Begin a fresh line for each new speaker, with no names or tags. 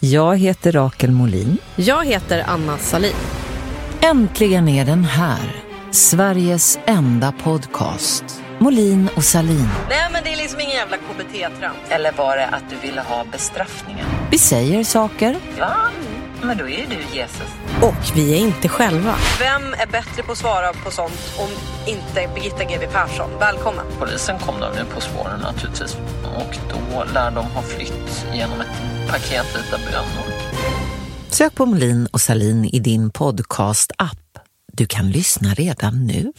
Jag heter Rakel Molin.
Jag heter Anna Salin.
Äntligen är den här. Sveriges enda podcast. Molin och Salin.
Nej, men det är liksom ingen jävla KBT-trams.
Eller var det att du ville ha bestraffningen?
Vi säger saker.
Va? Men då är ju du Jesus.
Och vi är inte själva.
Vem är bättre på att svara på sånt om inte Birgitta GW Persson? Välkommen.
Polisen kom de nu på spåren naturligtvis. Och då lär de ha flytt genom ett paket vita bönor.
Sök på Molin och Salin i din podcast-app. Du kan lyssna redan nu.